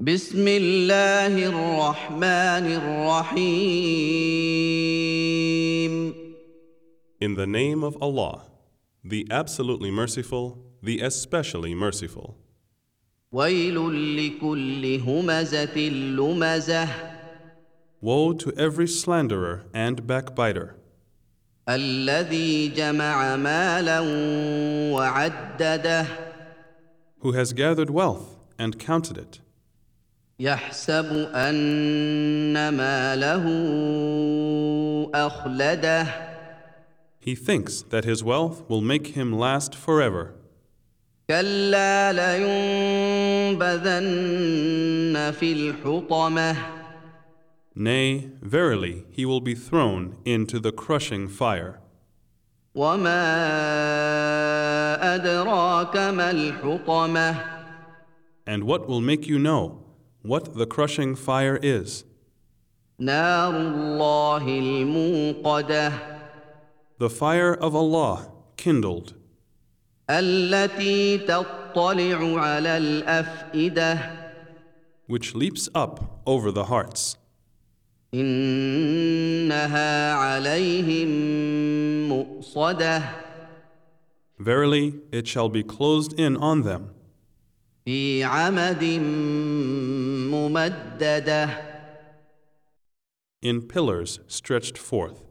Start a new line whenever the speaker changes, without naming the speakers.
بسم الله الرحمن الرحيم
In the name of Allah, the absolutely merciful, the especially merciful.
ويل لكل همزة لمزة
Woe to every slanderer and backbiter,
الذي جمع مالا وعدده
who has gathered wealth and counted it,
يحسب أن ماله أخلده
he thinks that his wealth will make him last forever.
كلا لينبذن في الحطمه
Nay, verily, he will be thrown into the crushing fire.
وما أدراك ما الحطمة
And what will make you know what the crushing fire is?
نار الله الموقدة
The fire of Allah, kindled,
التي تطلع على الأفئدة
which leaps up over the hearts.
إنها عليهم مؤصدة
Verily, it shall be closed in on them
في عمد ممدده
in pillars stretched forth.